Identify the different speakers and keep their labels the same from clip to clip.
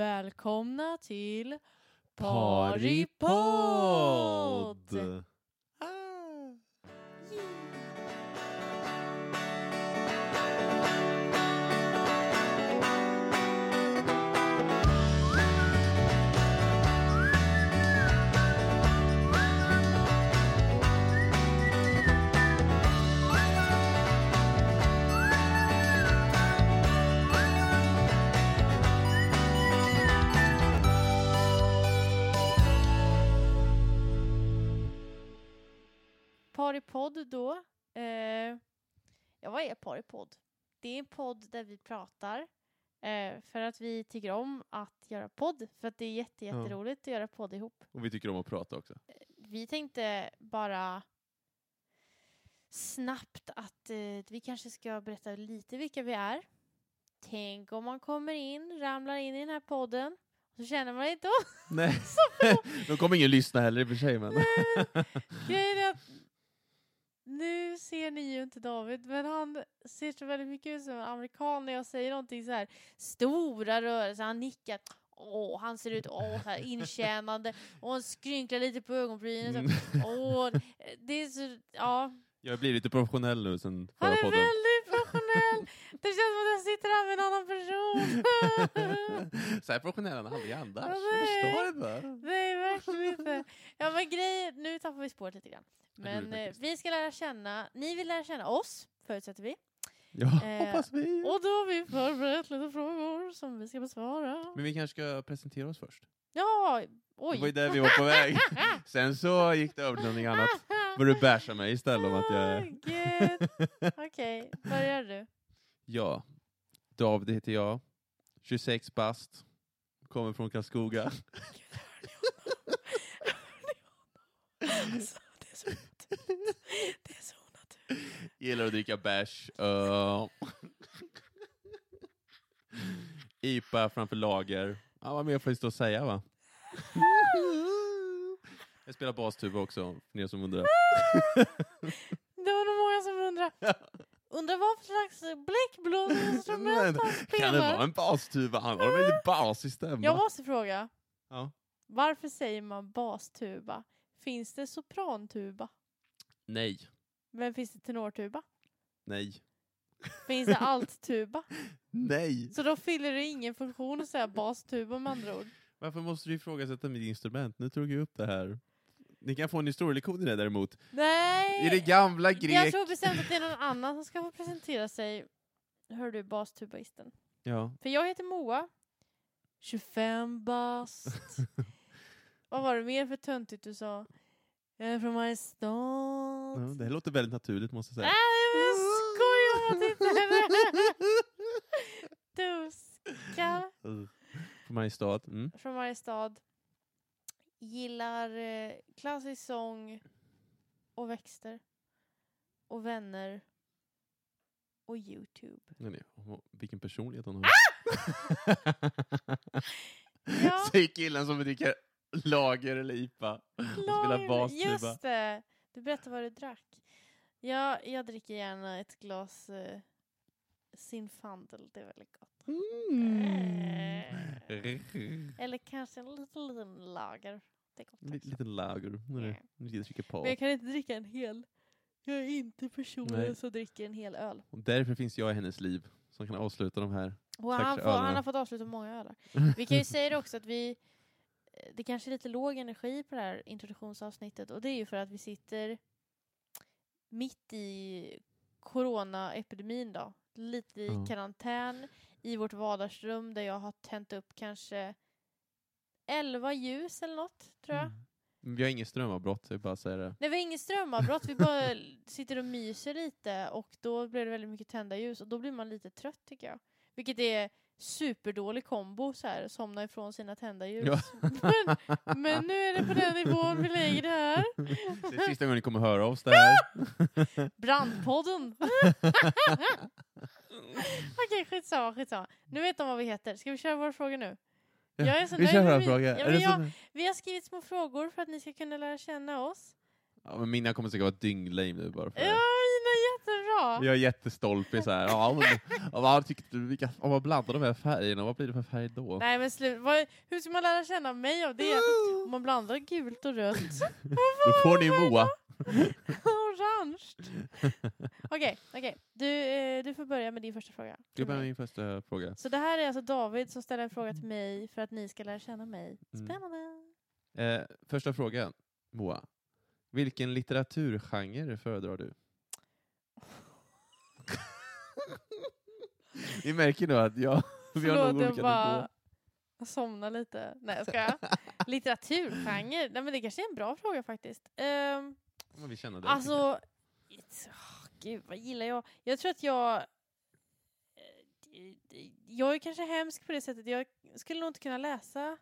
Speaker 1: Välkomna till Partypodd!
Speaker 2: Partypodd! Ah.
Speaker 1: Partypodd då. Eh, ja, vad är Partypodd? Det är en podd där vi pratar eh, för att vi tycker om att göra podd, för att det är jätte,
Speaker 2: Ja.
Speaker 1: jätteroligt att göra podd ihop.
Speaker 2: Och vi tycker om att prata också.
Speaker 1: Vi tänkte bara snabbt att eh, vi kanske ska berätta lite vilka vi är. Tänk om man kommer in, ramlar in i den här podden, och så känner man inte oss.
Speaker 2: Nej,
Speaker 1: Så får-
Speaker 2: de kommer ingen lyssna heller i och för sig. Men...
Speaker 1: Grejen är att nu ser ni ju inte David, men han ser så väldigt mycket ut som en amerikan när jag säger någonting så här stora rörelser, han nickar, åh, han ser ut, åh, så här intjänande, och han skrynklar lite på ögonbrynen, så,
Speaker 2: Mm.
Speaker 1: åh, det är så, ja.
Speaker 2: Jag har blivit lite professionell nu sen
Speaker 1: Han
Speaker 2: förra
Speaker 1: är
Speaker 2: podden.
Speaker 1: väldigt professionell, det känns som att jag sitter här med en annan person.
Speaker 2: Så här professionell han aldrig andas.
Speaker 1: Ja,
Speaker 2: Jag
Speaker 1: nej.
Speaker 2: förstår inte.
Speaker 1: Nej, verkligen inte. Ja, men grejer, nu tappar vi spåret lite grann.
Speaker 2: det gjorde vi
Speaker 1: Men eh,
Speaker 2: faktiskt.
Speaker 1: vi ska lära känna, ni vill lära känna oss, förutsätter vi.
Speaker 2: Ja,
Speaker 1: Eh,
Speaker 2: hoppas vi.
Speaker 1: Och då har vi förberett lite frågor som vi ska besvara.
Speaker 2: Men vi kanske ska presentera oss först.
Speaker 1: Ja, oj.
Speaker 2: Det var ju där vi var på väg. Sen så gick det över till någonting annat. Vad du bärsar mig istället om att
Speaker 1: Ah,
Speaker 2: jag...
Speaker 1: gud. Okej, börjar du.
Speaker 2: Ja, David heter jag. 26 bast. Kommer från Karlskoga.
Speaker 1: Alltså, det är så onaturligt. Det är så onaturligt.
Speaker 2: Gillar att dricka bärs. eh. öl. IPA framför lager. Ja, vad mer får vi stå och säga va? Jag spelar bastuba också, för er som
Speaker 1: Ah,
Speaker 2: undrar.
Speaker 1: Det var nog många som undrar. Undrar vad för slags bläckblåsinstrument han
Speaker 2: Kan det vara
Speaker 1: spelar.
Speaker 2: en bastuba? Han har väl lite bas i
Speaker 1: Jag
Speaker 2: stämman?
Speaker 1: måste fråga.
Speaker 2: Ja.
Speaker 1: Varför säger man bastuba? Finns det soprantuba?
Speaker 2: Nej,
Speaker 1: Men finns det tenortuba?
Speaker 2: nej,
Speaker 1: Finns det alttuba?
Speaker 2: nej.
Speaker 1: Så då fyller det ingen funktion att säga bastuba med andra ord.
Speaker 2: Varför måste du ifrågasätta mitt instrument? Nu tog jag upp det här. Ni kan få en historielektion i det däremot.
Speaker 1: Nej!
Speaker 2: I det gamla grek...
Speaker 1: Jag tror bestämt att det är någon annan som ska få presentera sig. Hör du bastubaisten?
Speaker 2: Ja,
Speaker 1: För jag heter Moa. 25 bast. Vad var det mer för töntigt du sa? Jag är från Mariestad.
Speaker 2: ja, det här låter väldigt naturligt måste jag säga.
Speaker 1: Nej, men skoja om att inte är Duskar.
Speaker 2: Uh, Från Mariestad. Mm.
Speaker 1: Från Mariestad. Gillar eh, klassisk sång och växter. Och vänner. Och Youtube.
Speaker 2: Nej, nej. Åh, Vilken personlighet hon har.
Speaker 1: Ah! Ja.
Speaker 2: Säger killen som dricker lager eller IPA. Och spelar
Speaker 1: Klar,
Speaker 2: bastuba.
Speaker 1: just det! Du berättade vad du drack. Ja, jag dricker gärna ett glas eh, Zinfandel, det är väldigt gott. Mm. Eh,
Speaker 2: Mm.
Speaker 1: Eller kanske en liten, liten lager. Det är gott
Speaker 2: Lite-
Speaker 1: också.
Speaker 2: Lite lager. Nu är det- nu är det trycker på.
Speaker 1: Mm. Men jag kan inte dricka en hel. Jag är inte personen
Speaker 2: Nej.
Speaker 1: som dricker en hel öl.
Speaker 2: Och därför finns jag i hennes liv. Som kan avsluta de här.
Speaker 1: Och
Speaker 2: Tack
Speaker 1: han,
Speaker 2: för
Speaker 1: får, han
Speaker 2: ölen.
Speaker 1: har fått avsluta många ölar. Vi kan ju säga det också att vi eh, det kanske är lite låg energi på det här introduktionsavsnittet och det är ju för att vi sitter mitt i coronaepidemin då. Lite i
Speaker 2: Ja.
Speaker 1: karantän i vårt vardagsrum där jag har tänt upp kanske 11 ljus eller något tror jag.
Speaker 2: Mm. Men Vi har inget strömavbrott, jag vill bara säga det.
Speaker 1: Nej, vi har inget strömavbrott, vi bara sitter och myser lite och då blir det väldigt mycket tända ljus och då blir man lite trött tycker jag. Vilket är superdålig kombo så här, somna ifrån sina tända ljus.
Speaker 2: Ja.
Speaker 1: Men, men nu är det på den nivån vi lägger det här.
Speaker 2: Det är sista gången ni kommer höra oss det här.
Speaker 1: Brandpodden! Okej, skitsamma, skitsamma. Nu vet de vad vi heter. Ska vi köra våra frågor nu? Jag är så
Speaker 2: Vi
Speaker 1: nöjd
Speaker 2: kör
Speaker 1: med
Speaker 2: här
Speaker 1: min-
Speaker 2: fråga.
Speaker 1: Ja,
Speaker 2: Är
Speaker 1: men
Speaker 2: det så-
Speaker 1: jag- Vi har skrivit små frågor för att ni ska kunna lära känna oss.
Speaker 2: Ja, men mina kommer säkert vara dynglame nu bara för
Speaker 1: Ja, mina jättebra.
Speaker 2: Jag är jättestolpig så här. Ja, men, ja, vad tyckte du? Vilka, om man blandar de här färgerna, vad blir det för färg då?
Speaker 1: Nej men slut. Vad, hur ska man lära känna mig av det? Om man blandar gult och rött.
Speaker 2: Då får ni Moa.
Speaker 1: Orange. Okej, okej. Du, eh, du får börja med din första fråga.
Speaker 2: Det var min första fråga.
Speaker 1: Så det här är alltså David som ställer en fråga till mig för att ni ska lära känna mig.
Speaker 2: Mm.
Speaker 1: Spännande.
Speaker 2: Eh, första frågan, Moa. Vilken litteraturgenre föredrar du? Ni märker nu att jag, vi har nog
Speaker 1: Förlåt, jag
Speaker 2: olika nivåer.
Speaker 1: bara somnar lite. Nej, jag skojar. Litteraturgenre? Nej, men det kanske är en bra fråga faktiskt. Ehm,
Speaker 2: Men Vi känner det.
Speaker 1: alltså, it's- åh, gud vad gillar jag? Jag tror att jag... eh, Jag är kanske hemsk på det sättet. Jag skulle nog inte kunna läsa.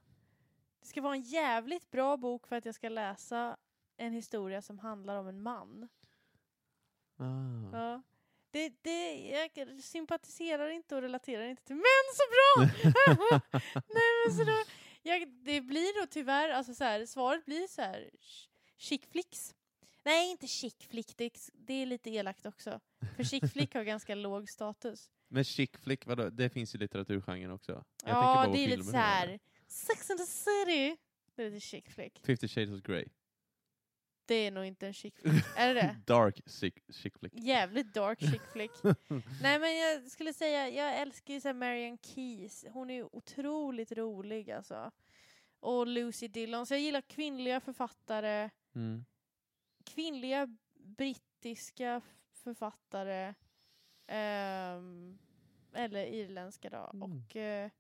Speaker 1: Det ska vara en jävligt bra bok för att jag ska läsa en historia som handlar om en man.
Speaker 2: Ah.
Speaker 1: Ja. Det, det, jag sympatiserar inte och relaterar inte till män så bra! Nej, men så då, jag, det blir då tyvärr, alltså så här, svaret blir så här, ch- chick flicks. Nej, inte chick flick, det, är- det är lite elakt också. För chick flick har ganska låg status.
Speaker 2: Men chick flick, vadå? Det finns ju litteraturgenren också. Jag tänker
Speaker 1: ja,
Speaker 2: bara på
Speaker 1: det är lite
Speaker 2: filmer
Speaker 1: så
Speaker 2: nu.
Speaker 1: här, Sex and the City. Det är lite chick flick.
Speaker 2: Fifty shades of Grey.
Speaker 1: Det är nog inte en chick flick. Är det det?
Speaker 2: Dark chick, chick flick.
Speaker 1: Jävligt dark chick flick. Nej men jag skulle säga, jag älskar ju så här Marianne Keyes. Hon är ju otroligt rolig alltså. Och Lucy Dillon. Så jag gillar kvinnliga författare,
Speaker 2: Mm.
Speaker 1: kvinnliga brittiska författare. ehm, eller irländska då.
Speaker 2: Mm.
Speaker 1: Och eh,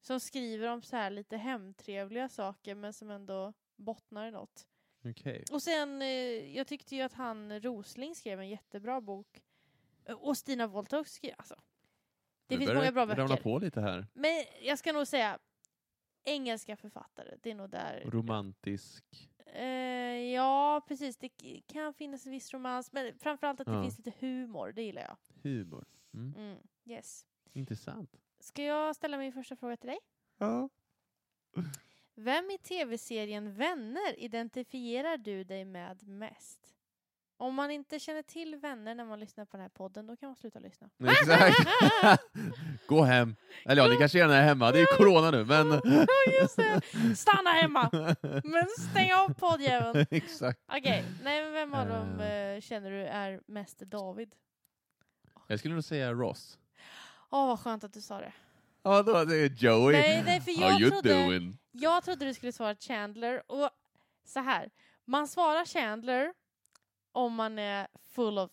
Speaker 1: som skriver om så här lite hemtrevliga saker men som ändå bottnar i något.
Speaker 2: Okej.
Speaker 1: Och sen, eh, jag tyckte ju att han Rosling skrev en jättebra bok. Eh, Och Stina Wollter också skrev, alltså. Det
Speaker 2: Nu
Speaker 1: finns
Speaker 2: börjar
Speaker 1: många
Speaker 2: jag
Speaker 1: bra
Speaker 2: ramla
Speaker 1: böcker.
Speaker 2: på lite här.
Speaker 1: Men jag ska nog säga, engelska författare, det är nog där.
Speaker 2: Romantisk.
Speaker 1: Eh, ja, precis, det k- kan finnas en viss romans, men framförallt att det
Speaker 2: Ja.
Speaker 1: finns lite humor, det gillar jag.
Speaker 2: Humor. Mm.
Speaker 1: Mm, yes.
Speaker 2: Intressant.
Speaker 1: Ska jag ställa min första fråga till dig?
Speaker 2: Ja.
Speaker 1: Vem i tv-serien Vänner identifierar du dig med mest? Om man inte känner till Vänner när man lyssnar på den här podden, då kan man sluta lyssna.
Speaker 2: Exakt. Gå hem. Eller ja, ni kanske gärna är hemma. Det är ju corona nu, men...
Speaker 1: Just det. Stanna hemma! Men stäng av poddjäveln!
Speaker 2: Exakt.
Speaker 1: Okej, nej men vem av dem
Speaker 2: Eh.
Speaker 1: eh, känner du är mest David?
Speaker 2: Jag skulle nog säga Ross.
Speaker 1: Åh, vad skönt att du sa det.
Speaker 2: Ja, då det är Joey.
Speaker 1: Nej, nej, för
Speaker 2: How you
Speaker 1: jag trodde,
Speaker 2: doing?
Speaker 1: jag trodde du skulle svara Chandler och så här. Man svarar Chandler om man är full of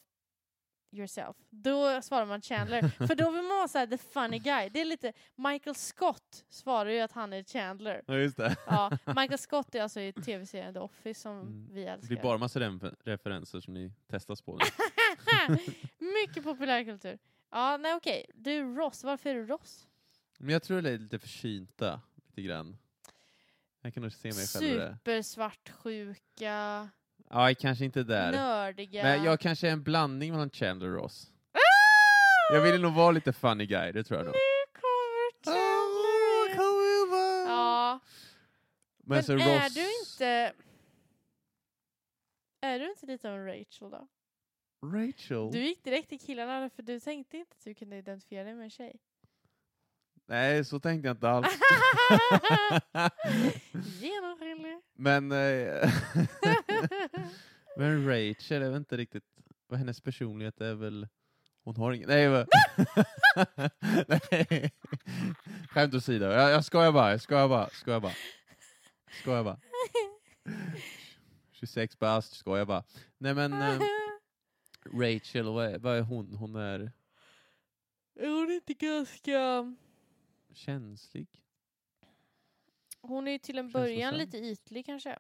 Speaker 1: yourself. Då svarar man Chandler, för då vill man vara så här, the funny guy. Det är lite, Michael Scott svarar ju att han är Chandler.
Speaker 2: Ja, just det.
Speaker 1: Ja, Michael Scott är alltså i tv-serien The Office som
Speaker 2: Mm.
Speaker 1: vi
Speaker 2: Det
Speaker 1: älskar.
Speaker 2: blir bara massa refer- referenser som ni testas på nu.
Speaker 1: Mycket populärkultur. Ja, nej okej. Du Ross, varför är du Ross?
Speaker 2: Men jag tror det är lite försynta, lite grann. Jag kan nog se mig själv i det.
Speaker 1: Supersvartsjuka,
Speaker 2: Ja, kanske inte där.
Speaker 1: nördiga.
Speaker 2: Men jag kanske är en blandning mellan Chandler och Ross.
Speaker 1: Ah!
Speaker 2: Jag ville nog vara lite funny guy, det tror jag nog.
Speaker 1: Nu kommer Chandler! in. Ja, Ah. men,
Speaker 2: så
Speaker 1: är
Speaker 2: Ross-
Speaker 1: du inte... Är du inte lite av en Rachel då?
Speaker 2: Rachel?
Speaker 1: Du gick direkt till killarna för du tänkte inte att du kunde identifiera dig med en tjej.
Speaker 2: Nej, så tänkte jag inte alls.
Speaker 1: Genomskinlig.
Speaker 2: Men, eh, men Rachel är väl inte riktigt... Vad hennes personlighet är väl... Hon har ingen... Nej, vad... Nej. Skämt åsido. Jag, jag skojar bara, jag skojar bara, skojar bara. Skojar bara. 26 bast, skojar bara. Nej men, eh, Rachel, vad är, vad är hon? Hon är
Speaker 1: Är hon inte ganska...
Speaker 2: känslig.
Speaker 1: Hon är ju till en
Speaker 2: Känslosam.
Speaker 1: början lite ytlig kanske.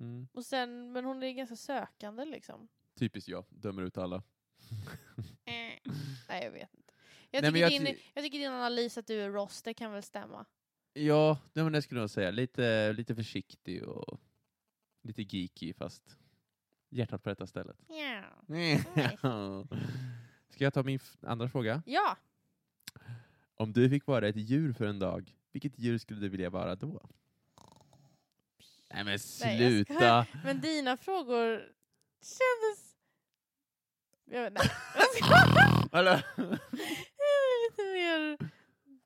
Speaker 2: Mm.
Speaker 1: Och sen, men hon är ganska sökande liksom.
Speaker 2: Typiskt jag, dömer ut alla.
Speaker 1: Eh. Nej, jag vet inte. Jag,
Speaker 2: Nej, men
Speaker 1: tycker
Speaker 2: jag
Speaker 1: din,
Speaker 2: ty-
Speaker 1: jag tycker din analys att du är Ross, det kan väl stämma?
Speaker 2: Ja, nej, men det skulle jag nog säga. Lite, lite försiktig och lite geeky fast hjärtat på rätta stället.
Speaker 1: Ja.
Speaker 2: Ska jag ta min f- andra fråga?
Speaker 1: Ja,
Speaker 2: Om du fick vara ett djur för en dag, vilket djur skulle du vilja vara då? Nej men
Speaker 1: Nej, jag skojar.
Speaker 2: sluta!
Speaker 1: men dina frågor kändes Jag vet, nej.
Speaker 2: Eller?
Speaker 1: lite mer...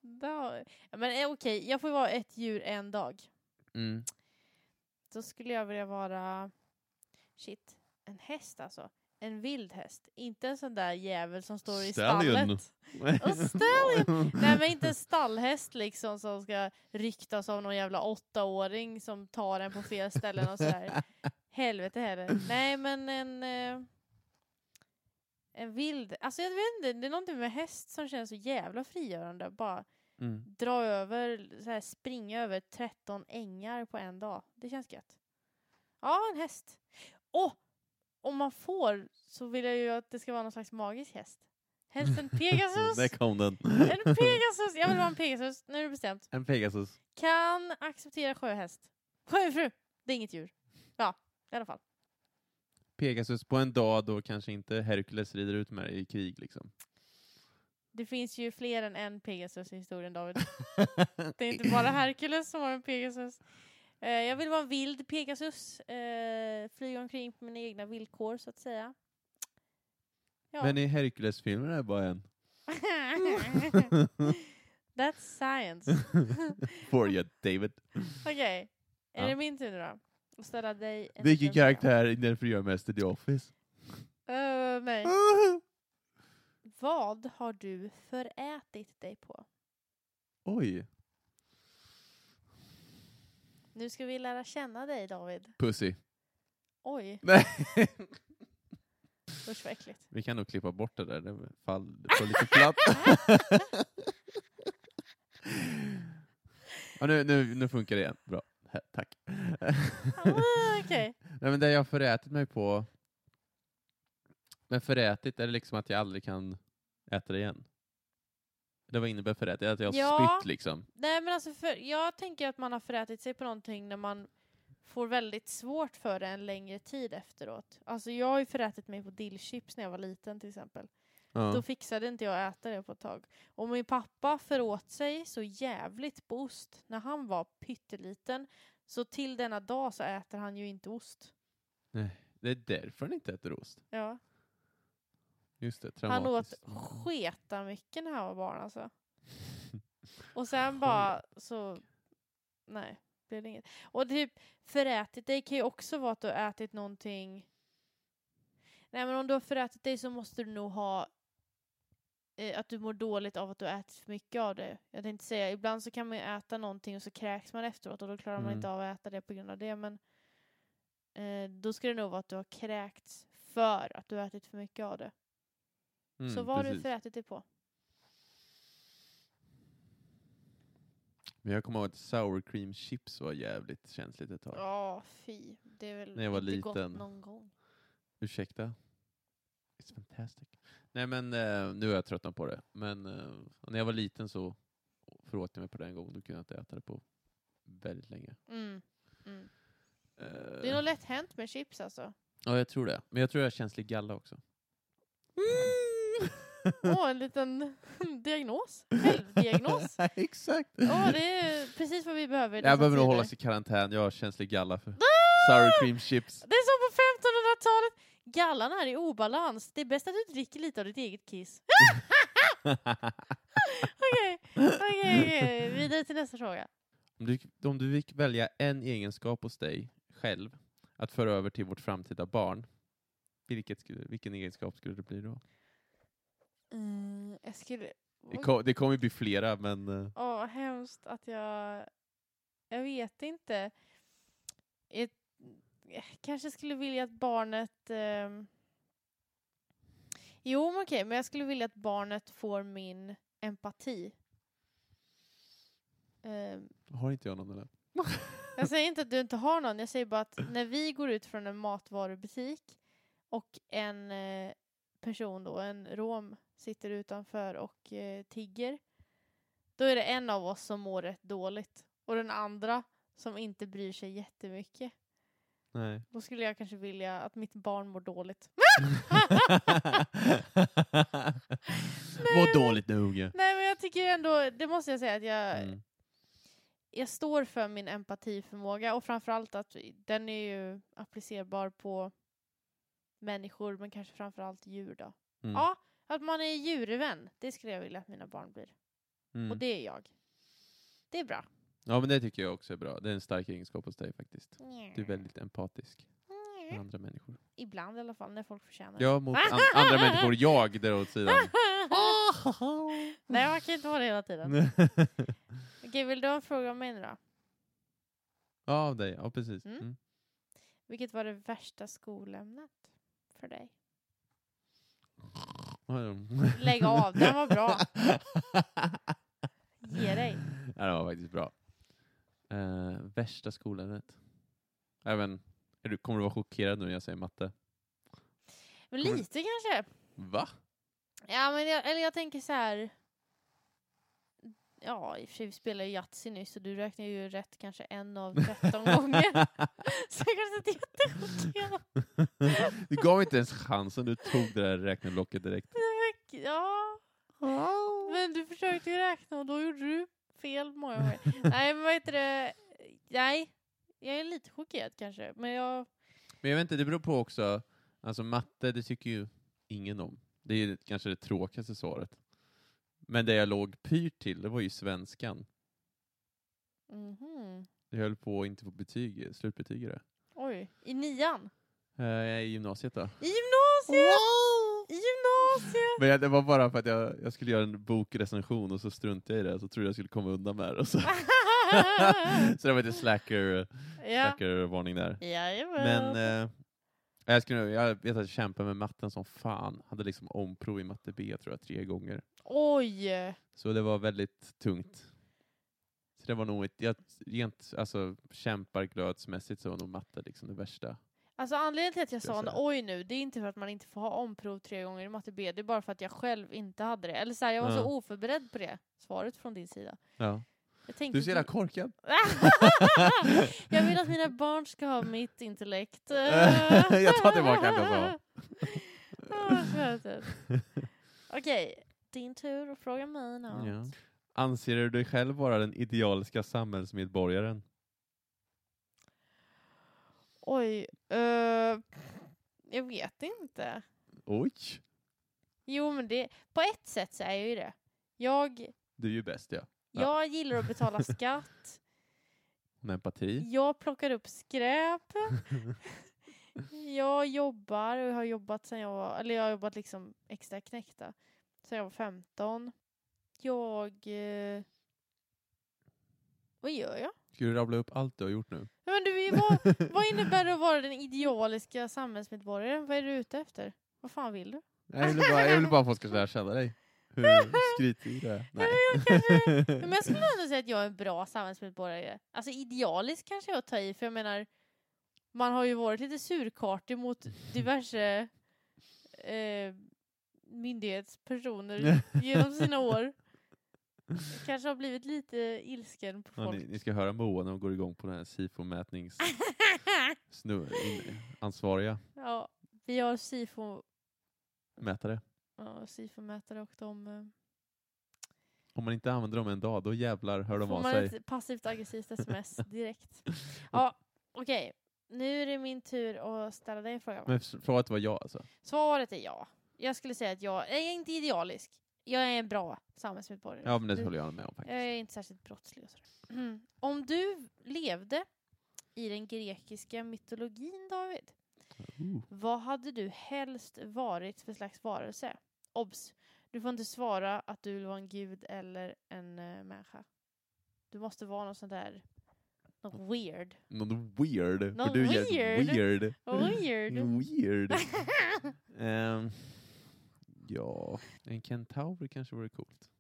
Speaker 1: Da. Ja, Men eh, okej, jag får vara ett djur en dag.
Speaker 2: Mm.
Speaker 1: Då skulle jag vilja vara... Shit, en häst alltså. En vild häst. Inte en sån där jävel som står i
Speaker 2: Stallion.
Speaker 1: stallet. Och stallion! Nej men inte en stallhäst liksom som ska ryktas av någon jävla åttaåring som tar en på fel ställen och sådär. Helvete heller. Nej men en... Eh, en vild... Alltså jag vet inte, det är någonting med häst som känns så jävla frigörande. Bara
Speaker 2: Mm.
Speaker 1: dra över, så här, springa över 13 ängar på en dag. Det känns gött. Ja, en häst. Och om man får så vill jag ju att det ska vara någon slags magisk häst. Helst en Pegasus.
Speaker 2: Där kom den.
Speaker 1: en Pegasus. Jag vill ha en Pegasus. Nu är det bestämt.
Speaker 2: En Pegasus.
Speaker 1: Kan acceptera sjöhäst. Sjöfru. Det är inget djur. Ja, i alla fall.
Speaker 2: Pegasus på en dag då kanske inte Herkules rider ut med dig i krig liksom.
Speaker 1: Det finns ju fler än en Pegasus i historien, David. Det är inte bara Herkules som har en Pegasus. Eh, jag vill vara en vild Pegasus. Eh, flyga omkring på mina egna villkor, så att säga. Ja.
Speaker 2: Men i Herkules-filmen är det bara en.
Speaker 1: That's science.
Speaker 2: For you, David.
Speaker 1: Okej, är
Speaker 2: Ja.
Speaker 1: det min tur nu då? Att ställa dig en
Speaker 2: Vilken
Speaker 1: liten fråga.
Speaker 2: karaktär är den för gör mest i The Office?
Speaker 1: Eh, nej. Vad har du förätit dig på?
Speaker 2: Oj.
Speaker 1: Nu ska vi lära känna dig, David.
Speaker 2: Pussy.
Speaker 1: Oj,
Speaker 2: Nej.
Speaker 1: usch vad äckligt.
Speaker 2: Vi kan nog klippa bort det där. Det fall det får lite platt. ja, nu, nu, nu funkar det igen. Bra. Hä, Tack.
Speaker 1: Ah, Okej.
Speaker 2: Nej, men det jag har förätit mig på... Men förätit är det liksom att jag aldrig kan äta det igen. Det var innebär förätit? Att jag har
Speaker 1: Ja.
Speaker 2: spytt liksom?
Speaker 1: Nej men alltså, för, jag tänker att man har förätit sig på någonting när man får väldigt svårt för det en längre tid efteråt. Alltså jag har ju förätit mig på dillchips när jag var liten till exempel. Då
Speaker 2: Ja.
Speaker 1: fixade inte jag att äta det på ett tag. Och min pappa föråt sig så jävligt på ost när han var pytteliten. Så till denna dag så äter han ju inte ost.
Speaker 2: Det är därför ni inte äter ost.
Speaker 1: Ja.
Speaker 2: Just det,
Speaker 1: Han åt
Speaker 2: traumatiskt.
Speaker 1: sketa mycket när han var barn alltså. Och sen bara så... Nej, blev det inget. Och typ förätit dig kan ju också vara att du har ätit någonting... Nej men om du har förätit dig så måste du nog ha eh, att du mår dåligt av att du har ätit för mycket av det. Jag tänkte säga, ibland så kan man ju äta någonting och så kräks man efteråt och då klarar man
Speaker 2: Mm.
Speaker 1: inte av att äta det på grund av det. Men eh, då ska det nog vara att du har kräkts för att du har ätit för mycket av det.
Speaker 2: Mm,
Speaker 1: så vad har du
Speaker 2: precis.
Speaker 1: förätit dig på?
Speaker 2: Men jag kommer ihåg att sour cream chips var jävligt känsligt ett tag.
Speaker 1: Ja, fy. Det är väl
Speaker 2: När jag var
Speaker 1: inte gott
Speaker 2: liten.
Speaker 1: någon gång.
Speaker 2: Ursäkta? It's fantastic. Nej men eh, nu är jag tröttnat på det. Men eh, när jag var liten så föråt jag mig på det en gång. Då kunde jag inte äta det på väldigt länge.
Speaker 1: Mm. Mm.
Speaker 2: Eh,
Speaker 1: Det är nog lätt hänt med chips alltså.
Speaker 2: Ja, jag tror det. Men jag tror jag har känslig galla också.
Speaker 1: Mm. Åh, en liten diagnos. Självdiagnos.
Speaker 2: Exakt!
Speaker 1: Åh, det är precis vad vi behöver i dessa
Speaker 2: jag behöver nog
Speaker 1: tider.
Speaker 2: hålla sig i karantän. Jag har känslig galla för
Speaker 1: Ah!
Speaker 2: sour cream chips.
Speaker 1: Det är som på 1500-talet. Gallan är i obalans. Det är bäst att du dricker lite av ditt eget kiss. Okej, okej, okej. Vidare till nästa fråga.
Speaker 2: Om du, om du fick välja en egenskap hos dig själv att föra över till vårt framtida barn, vilket, skulle- vilken egenskap skulle det bli då?
Speaker 1: Mm, jag skulle...
Speaker 2: Det, kom, det kommer ju bli flera, men... eh,
Speaker 1: Åh, vad hemskt att jag... Jag vet inte. Jag jag kanske skulle vilja att barnet... ehm, Jo, men okej, men jag skulle vilja att barnet får min empati. Ehm,
Speaker 2: Har inte jag någon eller?
Speaker 1: jag säger inte att du inte har någon, jag säger bara att när vi går ut från en matvarubutik och en eh, person då, en rom, sitter utanför och eh, tigger, då är det en av oss som mår rätt dåligt och den andra som inte bryr sig jättemycket.
Speaker 2: Nej.
Speaker 1: Då skulle jag kanske vilja att mitt barn mår dåligt.
Speaker 2: Vad dåligt nu unge.
Speaker 1: Nej men jag tycker ändå, det måste jag säga att jag,
Speaker 2: Mm.
Speaker 1: jag står för min empatiförmåga och framförallt att den är ju applicerbar på människor, men kanske framförallt djur då.
Speaker 2: Mm.
Speaker 1: Ja, att man är djurvän, det skulle jag vilja att mina barn blir.
Speaker 2: Mm.
Speaker 1: Och det är jag. Det är bra.
Speaker 2: Ja, men det tycker jag också är bra. Det är en stark egenskap hos dig faktiskt. Du är väldigt empatisk
Speaker 1: Mm.
Speaker 2: med andra människor.
Speaker 1: Ibland i alla fall, när folk förtjänar det.
Speaker 2: Ja, mot an andra människor. Jag där åt sidan.
Speaker 1: Nej, man kan inte vara det hela tiden. Okej, vill du ha en fråga om mig nu då?
Speaker 2: ja, av dig. Ja, precis.
Speaker 1: Mm.
Speaker 2: Mm.
Speaker 1: Vilket var det värsta skolämnet för dig?
Speaker 2: Ja, ja.
Speaker 1: Lägg av, den var bra. Ge dig.
Speaker 2: Ja, det var faktiskt bra. Eh, värsta skolämnet. Även, är du, kommer du vara chockerad nu när jag säger matte?
Speaker 1: Men
Speaker 2: Kommer-
Speaker 1: lite kanske.
Speaker 2: Va?
Speaker 1: Ja, men jag, eller jag tänker så här. Ja, i och för sig vi spelade ju Yatzy nyss så du räknar ju rätt kanske en av 13 gånger. Så jag kanske inte är jättechockerad.
Speaker 2: Du gav inte ens chansen, du tog det där räknelocket direkt.
Speaker 1: Ja, men du försökte ju räkna och då gjorde du fel många gånger. Nej, men vad heter det? Nej, jag är lite chockerad kanske. Men jag...
Speaker 2: Men jag vet inte, det beror på också, alltså matte, det tycker ju ingen om. Det är ju kanske det tråkigaste svaret. Men det jag låg pyrt till, det var ju svenskan.
Speaker 1: Mhm.
Speaker 2: Jag höll på att inte få betyg, slutbetyg i det.
Speaker 1: Oj, i nian?
Speaker 2: Eh, I gymnasiet då.
Speaker 1: I gymnasiet! I gymnasiet!
Speaker 2: Men jag- det var bara för att jag, jag skulle göra en bokrecension och så struntade jag i det, så trodde jag skulle komma undan med det. Och så. så det var lite slacker,
Speaker 1: ja.
Speaker 2: slacker-varning där.
Speaker 1: Jajamän.
Speaker 2: Men eh, jag, skulle, nog- jag vet att jag kämpade med matten som fan. Hade liksom omprov i matte B tror jag tre gånger.
Speaker 1: Oj!
Speaker 2: Så det var väldigt tungt. Så det var nog ett, jag, rent alltså, kämparglödsmässigt så var nog matte liksom det värsta.
Speaker 1: Alltså anledningen till att jag
Speaker 2: Ska jag
Speaker 1: sa en
Speaker 2: säga.
Speaker 1: oj nu, det är inte för att man inte får ha omprov tre gånger i matte B, det är bara för att jag själv inte hade det. Eller så här, jag var
Speaker 2: Ja.
Speaker 1: så oförberedd på det svaret från din sida.
Speaker 2: Ja.
Speaker 1: Jag tänkte
Speaker 2: Du
Speaker 1: inte-
Speaker 2: ser jävla korkad.
Speaker 1: jag vill att mina barn ska ha mitt intellekt.
Speaker 2: Jag tar tillbaka allt jag sa.
Speaker 1: Ah, vad skönt. Okej, din tur att fråga mig något.
Speaker 2: Ja. Anser du dig själv vara den idealiska samhällsmedborgaren?
Speaker 1: Oj, eh, jag vet inte.
Speaker 2: Oj,
Speaker 1: Jo men det, på ett sätt så är jag ju det. Jag,
Speaker 2: du är ju bäst ja. Ja.
Speaker 1: jag gillar att betala skatt.
Speaker 2: Med empati.
Speaker 1: Jag plockar upp skräp. jag jobbar och jag har jobbat sen jag var, eller jag har jobbat liksom extra knäckta sen jag var 15. Jag... Eh, vad gör jag?
Speaker 2: Ska du rabbla upp allt du har gjort nu?
Speaker 1: Men du, vad, vad innebär det att vara den idealiska samhällsmedborgaren? Vad är du ute efter? Vad fan vill du?
Speaker 2: Jag ville bara, jag ville bara att folk ska lära känna dig. Hur skrytig du är. Nej.
Speaker 1: Men jag skulle ändå säga att jag är en bra samhällsmedborgare. Alltså idealisk kanske jag tar i, för jag menar, man har ju varit lite surkartig mot diverse eh, myndighetspersoner genom sina år. Jag Kanske har blivit lite ilsken på
Speaker 2: Ja,
Speaker 1: folk.
Speaker 2: ni, ni ska höra Moa när hon går igång på den här SIFO-mätnings...
Speaker 1: Ah,
Speaker 2: snu- in- ansvariga
Speaker 1: ja, vi har SIFO,
Speaker 2: mätare.
Speaker 1: ja, SIFO-mätare och de... eh,
Speaker 2: Om man inte använder dem en dag, då jävlar hör de
Speaker 1: Får
Speaker 2: av
Speaker 1: man
Speaker 2: sig.
Speaker 1: ett passivt aggressivt sms direkt. Ja, okej. Nu är det min tur att ställa dig en fråga.
Speaker 2: Men s- svaret var ja alltså.
Speaker 1: Svaret är ja. Jag skulle säga att jag jag är inte idealisk. Jag är en bra samhällsmedborgare.
Speaker 2: Ja, men det
Speaker 1: Du-
Speaker 2: håller jag med om
Speaker 1: jag är
Speaker 2: faktiskt.
Speaker 1: inte särskilt brottslig och sådär. Mm. Om du levde i den grekiska mytologin, David,
Speaker 2: Uh.
Speaker 1: vad hade du helst varit för slags varelse? Obs! Du får inte svara att du vill vara en gud eller en uh, människa. Du måste vara någon sån där... Något weird.
Speaker 2: Någon weird. för
Speaker 1: Någon
Speaker 2: du är jävligt
Speaker 1: weird.
Speaker 2: weird.
Speaker 1: Weird!
Speaker 2: Mm. Weird. Ehm, ja, en kentaur kanske vore coolt.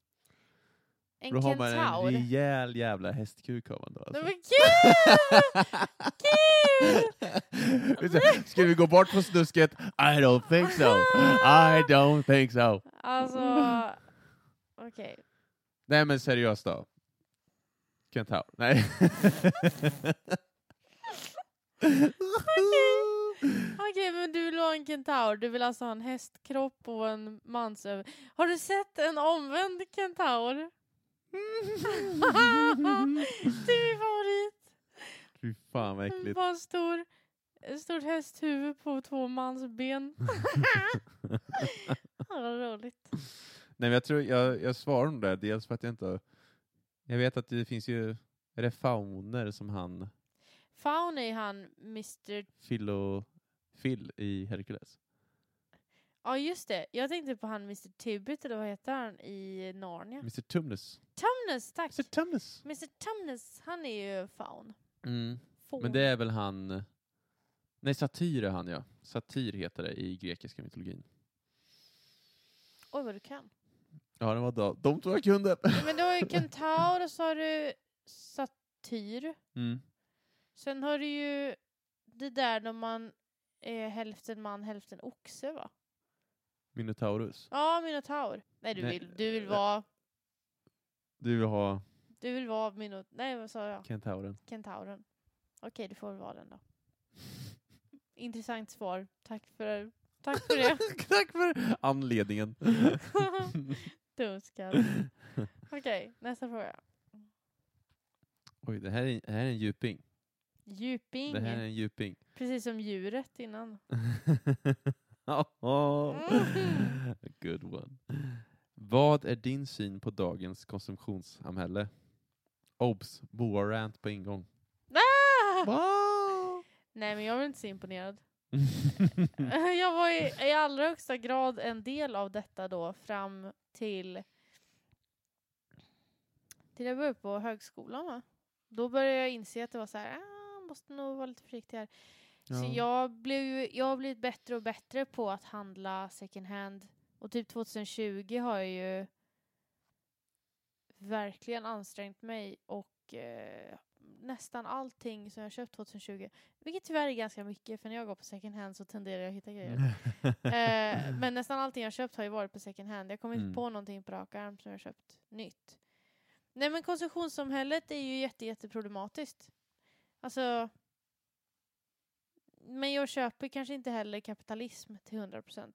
Speaker 1: En kentaur.
Speaker 2: en rejäl jävla hästkuk har man då.
Speaker 1: Nej
Speaker 2: Alltså.
Speaker 1: men gud! Kul!
Speaker 2: Vi säger, Ska vi gå bort på snusket? I don't think so. I don't think so.
Speaker 1: Alltså... Okej.
Speaker 2: Nej men seriöst då. Kentaur. Nej.
Speaker 1: Okej, men du vill ha en kentaur. Du vill alltså ha en hästkropp och en mansöver... Har du sett en omvänd kentaur? det är min favorit.
Speaker 2: Fy fan vad äckligt.
Speaker 1: Bara en stor Ett stort hästhuvud på två mans ben. Ja, Vad roligt.
Speaker 2: Nej, men jag tror jag, jag svarar nog där, dels för att jag inte... har- Jag vet att det finns ju är det fauner som han,
Speaker 1: Faun är han Mr...
Speaker 2: Phil och Phil i Hercules.
Speaker 1: Ja, just det. Jag tänkte på han Mr Tibbet, eller vad heter han, i Narnia.
Speaker 2: Mr Tumnus.
Speaker 1: Tumnus, tack!
Speaker 2: Mr Tumnus!
Speaker 1: Mr Tumnus, han är ju faun.
Speaker 2: Mm.
Speaker 1: Faun.
Speaker 2: Men det är väl han... Nej, satyr är han ja. Satyr heter det i grekiska mytologin.
Speaker 1: Oj, vad du kan.
Speaker 2: Ja, det var då. de två jag kunde.
Speaker 1: Ja, Men du har ju kentaur och så har du satyr.
Speaker 2: Mm.
Speaker 1: Sen har du ju det där när man är hälften man, hälften oxe, va?
Speaker 2: Minotaurus.
Speaker 1: Ja, minotaur. Nej, du
Speaker 2: Nej,
Speaker 1: vill, du vill
Speaker 2: eh,
Speaker 1: vara...
Speaker 2: Du vill ha
Speaker 1: Du vill vara minot... Nej, vad sa jag?
Speaker 2: kentauren.
Speaker 1: Kentauren. Okej, du får väl vara den då. Intressant svar. Tack för, tack för det.
Speaker 2: Tack för anledningen.
Speaker 1: Dumskalle. Okej, nästa fråga.
Speaker 2: Oj, det här är, det här är en djuping.
Speaker 1: Djuping.
Speaker 2: Det här är en djuping.
Speaker 1: Precis som djuret innan.
Speaker 2: oh, good one. Vad är din syn på dagens konsumtionssamhälle? Obs! Boa-rant på ingång.
Speaker 1: Ah!
Speaker 2: Wow.
Speaker 1: Nej, men jag är inte så imponerad. jag var i, i allra högsta grad en del av detta då fram till till jag började på högskolan. Va? Då började jag inse att det var så här, ah, måste nog vara lite försiktig här. Så
Speaker 2: Ja.
Speaker 1: jag, blev, ju- jag har blivit bättre och bättre på att handla second hand. Och typ 2020 har jag ju verkligen ansträngt mig och eh, nästan allting som jag köpt 2020, vilket tyvärr är ganska mycket för när jag går på second hand så tenderar jag att hitta grejer. Eh, men nästan allting jag köpt har ju varit på second hand. Jag kommer
Speaker 2: Mm.
Speaker 1: inte på någonting på rak arm som jag köpt nytt. Nej men konsumtionssamhället är ju jätte, jätteproblematiskt. Alltså... Men jag köper kanske inte heller kapitalism till 100%.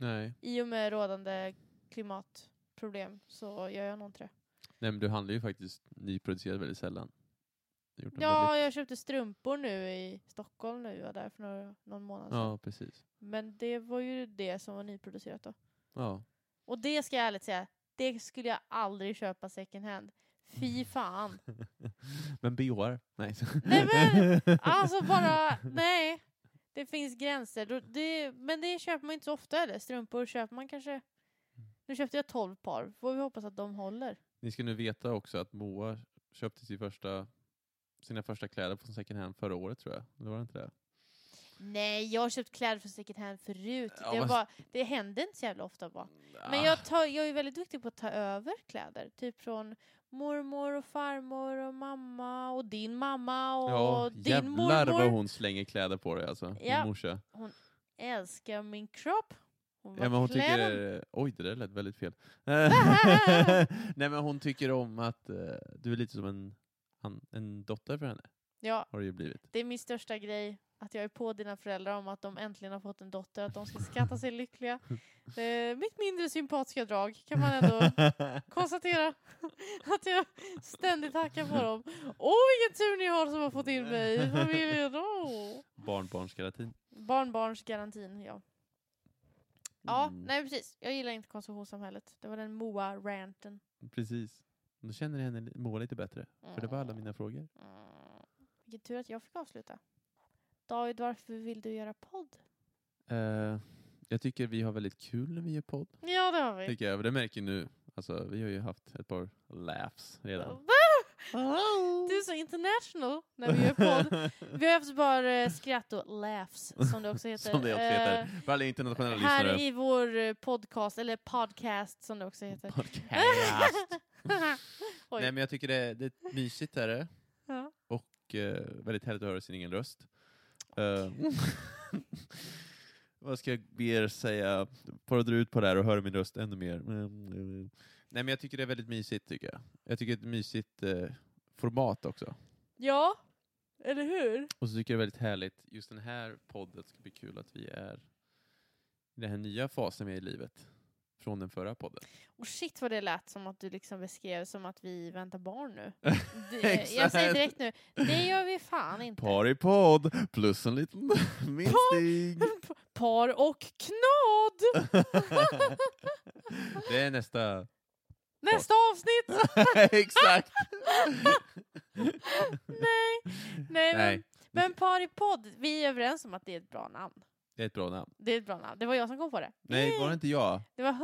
Speaker 2: Nej.
Speaker 1: I och med rådande klimatproblem så gör jag nog inte det.
Speaker 2: Nej, men du handlar ju faktiskt nyproducerat väldigt sällan. Du har gjort en
Speaker 1: Ja,
Speaker 2: väldigt-
Speaker 1: jag köpte strumpor nu i Stockholm nu. Jag var där för några, någon månad sedan.
Speaker 2: ja, precis.
Speaker 1: Men det var ju det som var nyproducerat då.
Speaker 2: Ja.
Speaker 1: Och det ska jag ärligt säga, det skulle jag aldrig köpa second hand.
Speaker 2: Mm.
Speaker 1: Fy fan.
Speaker 2: Men boar? Nej.
Speaker 1: Nej, men- Alltså bara, nej. Det finns gränser. Då- Det, men det köper man inte så ofta eller? Strumpor köper man
Speaker 2: Mm.
Speaker 1: kanske... Nu köpte jag 12 par, får vi hoppas att de håller.
Speaker 2: Ni ska nu veta också att Moa köpte sin första, sina första kläder från second hand förra året tror jag. Det var det inte det?
Speaker 1: Nej, jag har köpt kläder från second hand förut.
Speaker 2: Ja,
Speaker 1: det,
Speaker 2: men-
Speaker 1: bara, det händer inte så jävla ofta bara. Men
Speaker 2: Ah,
Speaker 1: jag, tar, jag är väldigt duktig på att ta över kläder. Typ från mormor och farmor och mamma och din mamma och
Speaker 2: Ja,
Speaker 1: din
Speaker 2: jävlar vad
Speaker 1: mormor.
Speaker 2: hon slänger kläder på dig alltså,
Speaker 1: Ja.
Speaker 2: din morsa.
Speaker 1: älskar min kropp. Hon
Speaker 2: Ja, men hon
Speaker 1: klär
Speaker 2: tycker,
Speaker 1: den.
Speaker 2: eh, oj det där lät väldigt fel. Nej men hon tycker om att eh, du är lite som en, han, en dotter för henne,
Speaker 1: ja,
Speaker 2: har det ju blivit.
Speaker 1: det är min största grej. Att jag är på dina föräldrar om att de äntligen har fått en dotter, att de ska skatta sig lyckliga. Eh, mitt mindre sympatiska drag kan man ändå konstatera. att jag ständigt hackar på dem. Åh, vilken tur ni har som har fått in mig i familjen. Oh.
Speaker 2: Barnbarnsgelatin.
Speaker 1: Barnbarnsgarantin, ja. Ja,
Speaker 2: Mm,
Speaker 1: nej precis. Jag gillar inte konsumtionssamhället. Det var den Moa-ranten.
Speaker 2: Precis. Då känner henne li- Moa lite bättre, för det var alla mina frågor.
Speaker 1: Mm. Vilken tur att jag fick avsluta. David, varför vill du göra podd?
Speaker 2: Eh, jag tycker vi har väldigt kul när vi gör podd.
Speaker 1: Ja, det har vi.
Speaker 2: Tycker jag, men det märker ju nu. Alltså, vi har ju haft ett par laughs redan.
Speaker 1: Du är så international när vi gör podd. Vi har haft bara eh, skratt och laughs, som det också heter.
Speaker 2: Som det också
Speaker 1: Eh,
Speaker 2: heter. För alla internationella
Speaker 1: här
Speaker 2: lyssnare.
Speaker 1: i vår eh, podcast, eller podcast som det också heter.
Speaker 2: Podcast.
Speaker 1: Oj.
Speaker 2: Nej men jag tycker det, det är mysigt är det.
Speaker 1: Ja.
Speaker 2: Och eh, väldigt härligt att höra sin egen röst. Eh, vad ska jag be er säga? Bara dra ut på det här och höra min röst ännu mer. Mm, mm. Nej men jag tycker det är väldigt mysigt tycker jag. Jag tycker det är ett mysigt eh, format också.
Speaker 1: ja, eller hur?
Speaker 2: Och så tycker jag det är väldigt härligt, just den här podden ska bli kul att vi är i den här nya fasen vi är i livet. från den förra podden.
Speaker 1: Och shit vad det lät som att du liksom beskrev som att vi väntar barn nu. Det, jag
Speaker 2: Exakt.
Speaker 1: säger direkt nu, det gör vi fan inte.
Speaker 2: Partypodd plus en liten minstig.
Speaker 1: Par och knad!
Speaker 2: det är nästa.
Speaker 1: Nästa avsnitt!
Speaker 2: Exakt.
Speaker 1: Nej, nej,
Speaker 2: Nej,
Speaker 1: Men, men par i podd, vi är överens om att det är ett bra namn.
Speaker 2: det är ett bra namn.
Speaker 1: Det är ett bra namn. Det var jag som kom på det.
Speaker 2: Nej, var det inte jag?
Speaker 1: Det var 100%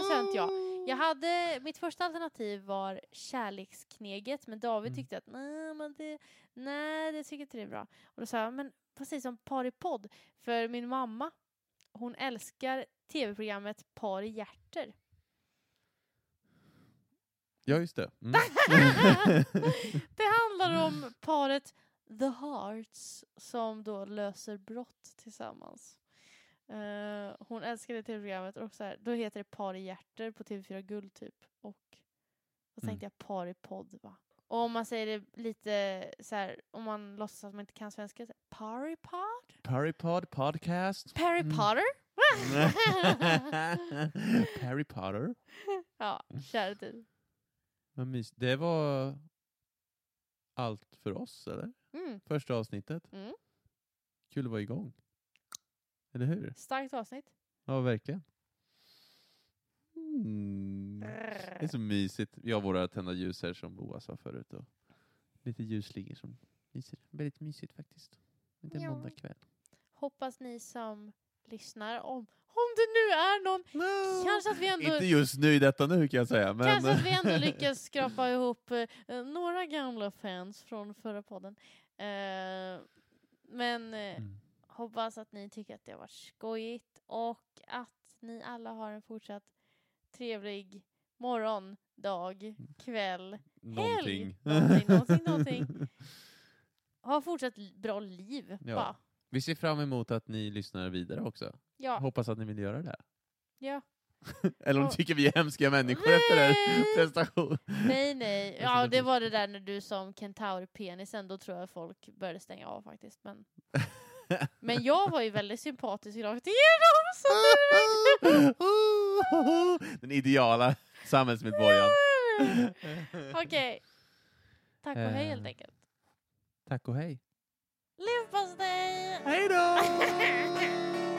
Speaker 1: procent ja. Jag hade, mitt första alternativ var kärlekskneget, men David
Speaker 2: Mm.
Speaker 1: tyckte att nej, men det, nej, det tycker inte det är bra. Och då sa jag, men precis som Par i podd, för min mamma, hon älskar tv-programmet Par i hjärter.
Speaker 2: Ja, just det. Mm.
Speaker 1: det handlar om paret The Hearts som då löser brott tillsammans. Eh, hon älskar det tv-programmet och så här, då heter det Par i hjärter på TV4 Guld typ. Och då
Speaker 2: Mm.
Speaker 1: tänkte jag par i podd va. Och om man säger det lite så här, om man låtsas att man inte kan svenska, så här, par i pod?
Speaker 2: Partypod podcast.
Speaker 1: Perry
Speaker 2: Mm.
Speaker 1: Potter?
Speaker 2: Harry Potter.
Speaker 1: ja, kära du.
Speaker 2: Vad mys- det var allt för oss, eller?
Speaker 1: Mm,
Speaker 2: Första avsnittet.
Speaker 1: Mm.
Speaker 2: Kul att vara igång. Eller hur?
Speaker 1: starkt avsnitt.
Speaker 2: Ja, verkligen. Mm.
Speaker 1: Eh.
Speaker 2: Det är så mysigt. Vi har våra tända ljus här som Boa sa förut. Och lite ljusslingor som lyser. Väldigt mysigt faktiskt. Det är
Speaker 1: Ja.
Speaker 2: måndag kväll.
Speaker 1: Hoppas ni som lyssnar, om, om det nu är någon Kanske att vi ändå,
Speaker 2: Inte just nu i detta nu kan jag säga. Men
Speaker 1: kanske att vi ändå lyckas skrapa ihop eh, några gamla fans från förra podden. Eh, men eh,
Speaker 2: Mm.
Speaker 1: hoppas att ni tycker att det har varit skojigt och att ni alla har en fortsatt trevlig morgon, dag, kväll, helg.
Speaker 2: Någonting.
Speaker 1: Någonting, någonting, någonting. Ha fortsatt li- bra liv.
Speaker 2: Ja.
Speaker 1: bara.
Speaker 2: Vi ser fram emot att ni lyssnar vidare också.
Speaker 1: ja.
Speaker 2: Hoppas att ni vill göra det.
Speaker 1: ja.
Speaker 2: Eller om
Speaker 1: Och-
Speaker 2: ni tycker vi är hemska människor efter den
Speaker 1: Nej!
Speaker 2: prestation.
Speaker 1: Nej, nej.
Speaker 2: Jag
Speaker 1: Ja,
Speaker 2: känner
Speaker 1: det
Speaker 2: på-
Speaker 1: var det där när du som kentaur-penisen, då tror jag folk började stänga av faktiskt. Men, men jag var ju väldigt sympatisk rakt igenom! Så det verkligen-
Speaker 2: den ideala samhällsmedborgaren.
Speaker 1: Okej. Tack och hej helt
Speaker 2: Eh.
Speaker 1: enkelt.
Speaker 2: Tack och hej.
Speaker 1: Leverpastej!
Speaker 2: Hej då!